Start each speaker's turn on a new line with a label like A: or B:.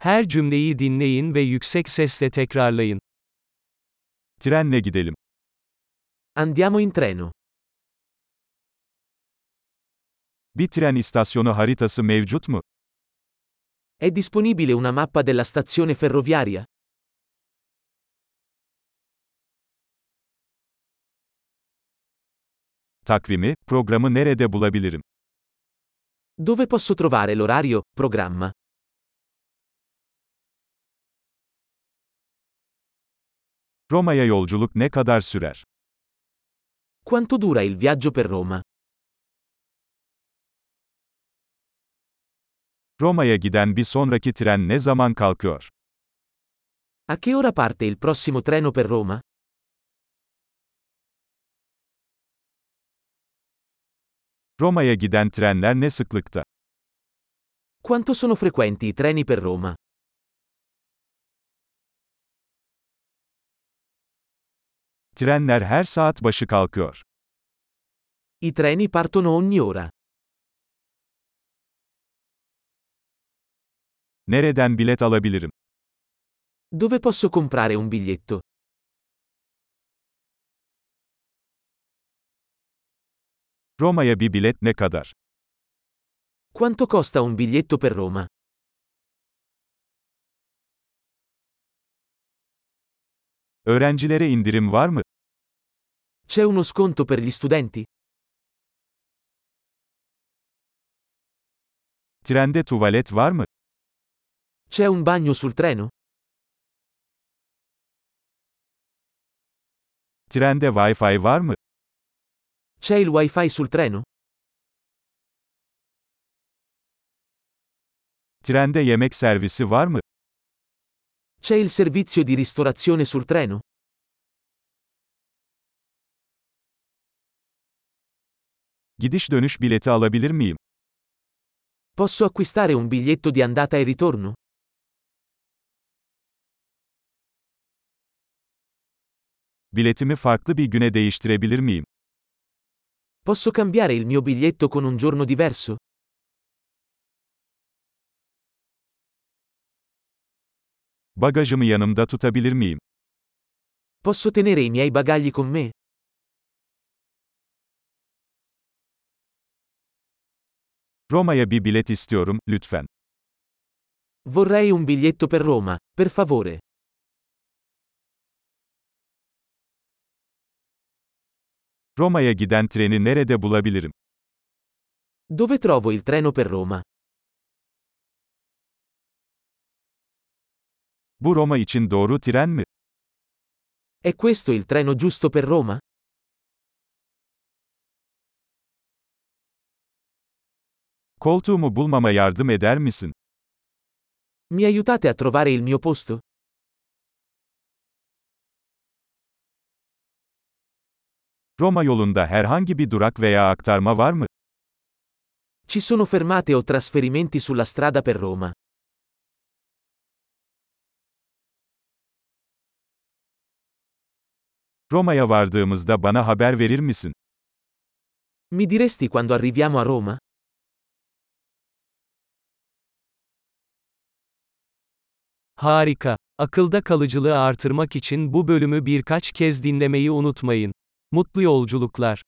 A: Her cümleyi dinleyin ve yüksek sesle tekrarlayın.
B: Trenle gidelim.
C: Andiamo in treno.
B: Bir tren istasyonu haritası mevcut mu?
C: È disponibile una mappa della stazione ferroviaria?
B: Takvimi, programı nerede bulabilirim?
C: Dove posso trovare l'orario, programma?
B: Roma'ya yolculuk ne kadar sürer?
C: Quanto dura il viaggio per Roma?
B: Roma'ya giden bir sonraki tren ne zaman kalkıyor?
C: A che ora parte il prossimo treno per Roma?
B: Roma'ya giden trenler ne sıklıkta?
C: Quanto sono frequenti i treni per Roma?
B: Trenler her saat başı kalkıyor.
C: I treni partono ogni ora.
B: Nereden bilet alabilirim?
C: Dove posso comprare un biglietto?
B: Roma'ya bir bilet ne kadar?
C: Quanto costa un biglietto per Roma?
B: Öğrencilere indirim var mı?
C: C'è uno sconto per gli studenti?
B: Trende tuvalet var mı?
C: C'è un bagno sul treno?
B: Trende Wi-Fi var mı?
C: C'è il wifi sul treno?
B: Trende yemek servisi var mı?
C: C'è il servizio di ristorazione sul treno?
B: Gidiş dönüş bileti alabilir miyim?
C: Posso acquistare un biglietto di andata e ritorno?
B: Biletimi farklı bir güne değiştirebilir miyim?
C: Posso cambiare il mio biglietto con un giorno diverso?
B: Bagajımı yanımda tutabilir miyim?
C: Posso tenere i miei bagagli con me?
B: Roma'ya bir bilet istiyorum, lütfen.
C: Vorrei un biglietto per Roma, per favore.
B: Roma'ya giden treni nerede bulabilirim?
C: Dove trovo il treno per Roma?
B: Bu Roma için doğru tren mi?
C: È questo il treno giusto per Roma?
B: Koltuğumu bulmama yardım eder misin?
C: Mi aiutate a trovare il mio posto?
B: Roma yolunda herhangi bir durak veya aktarma var mı?
C: Ci sono fermate o trasferimenti sulla strada per Roma?
B: Roma'ya vardığımızda bana haber verir misin?
C: Mi diresti quando arriviamo a Roma?
A: Harika. Akılda kalıcılığı artırmak için bu bölümü birkaç kez dinlemeyi unutmayın. Mutlu yolculuklar.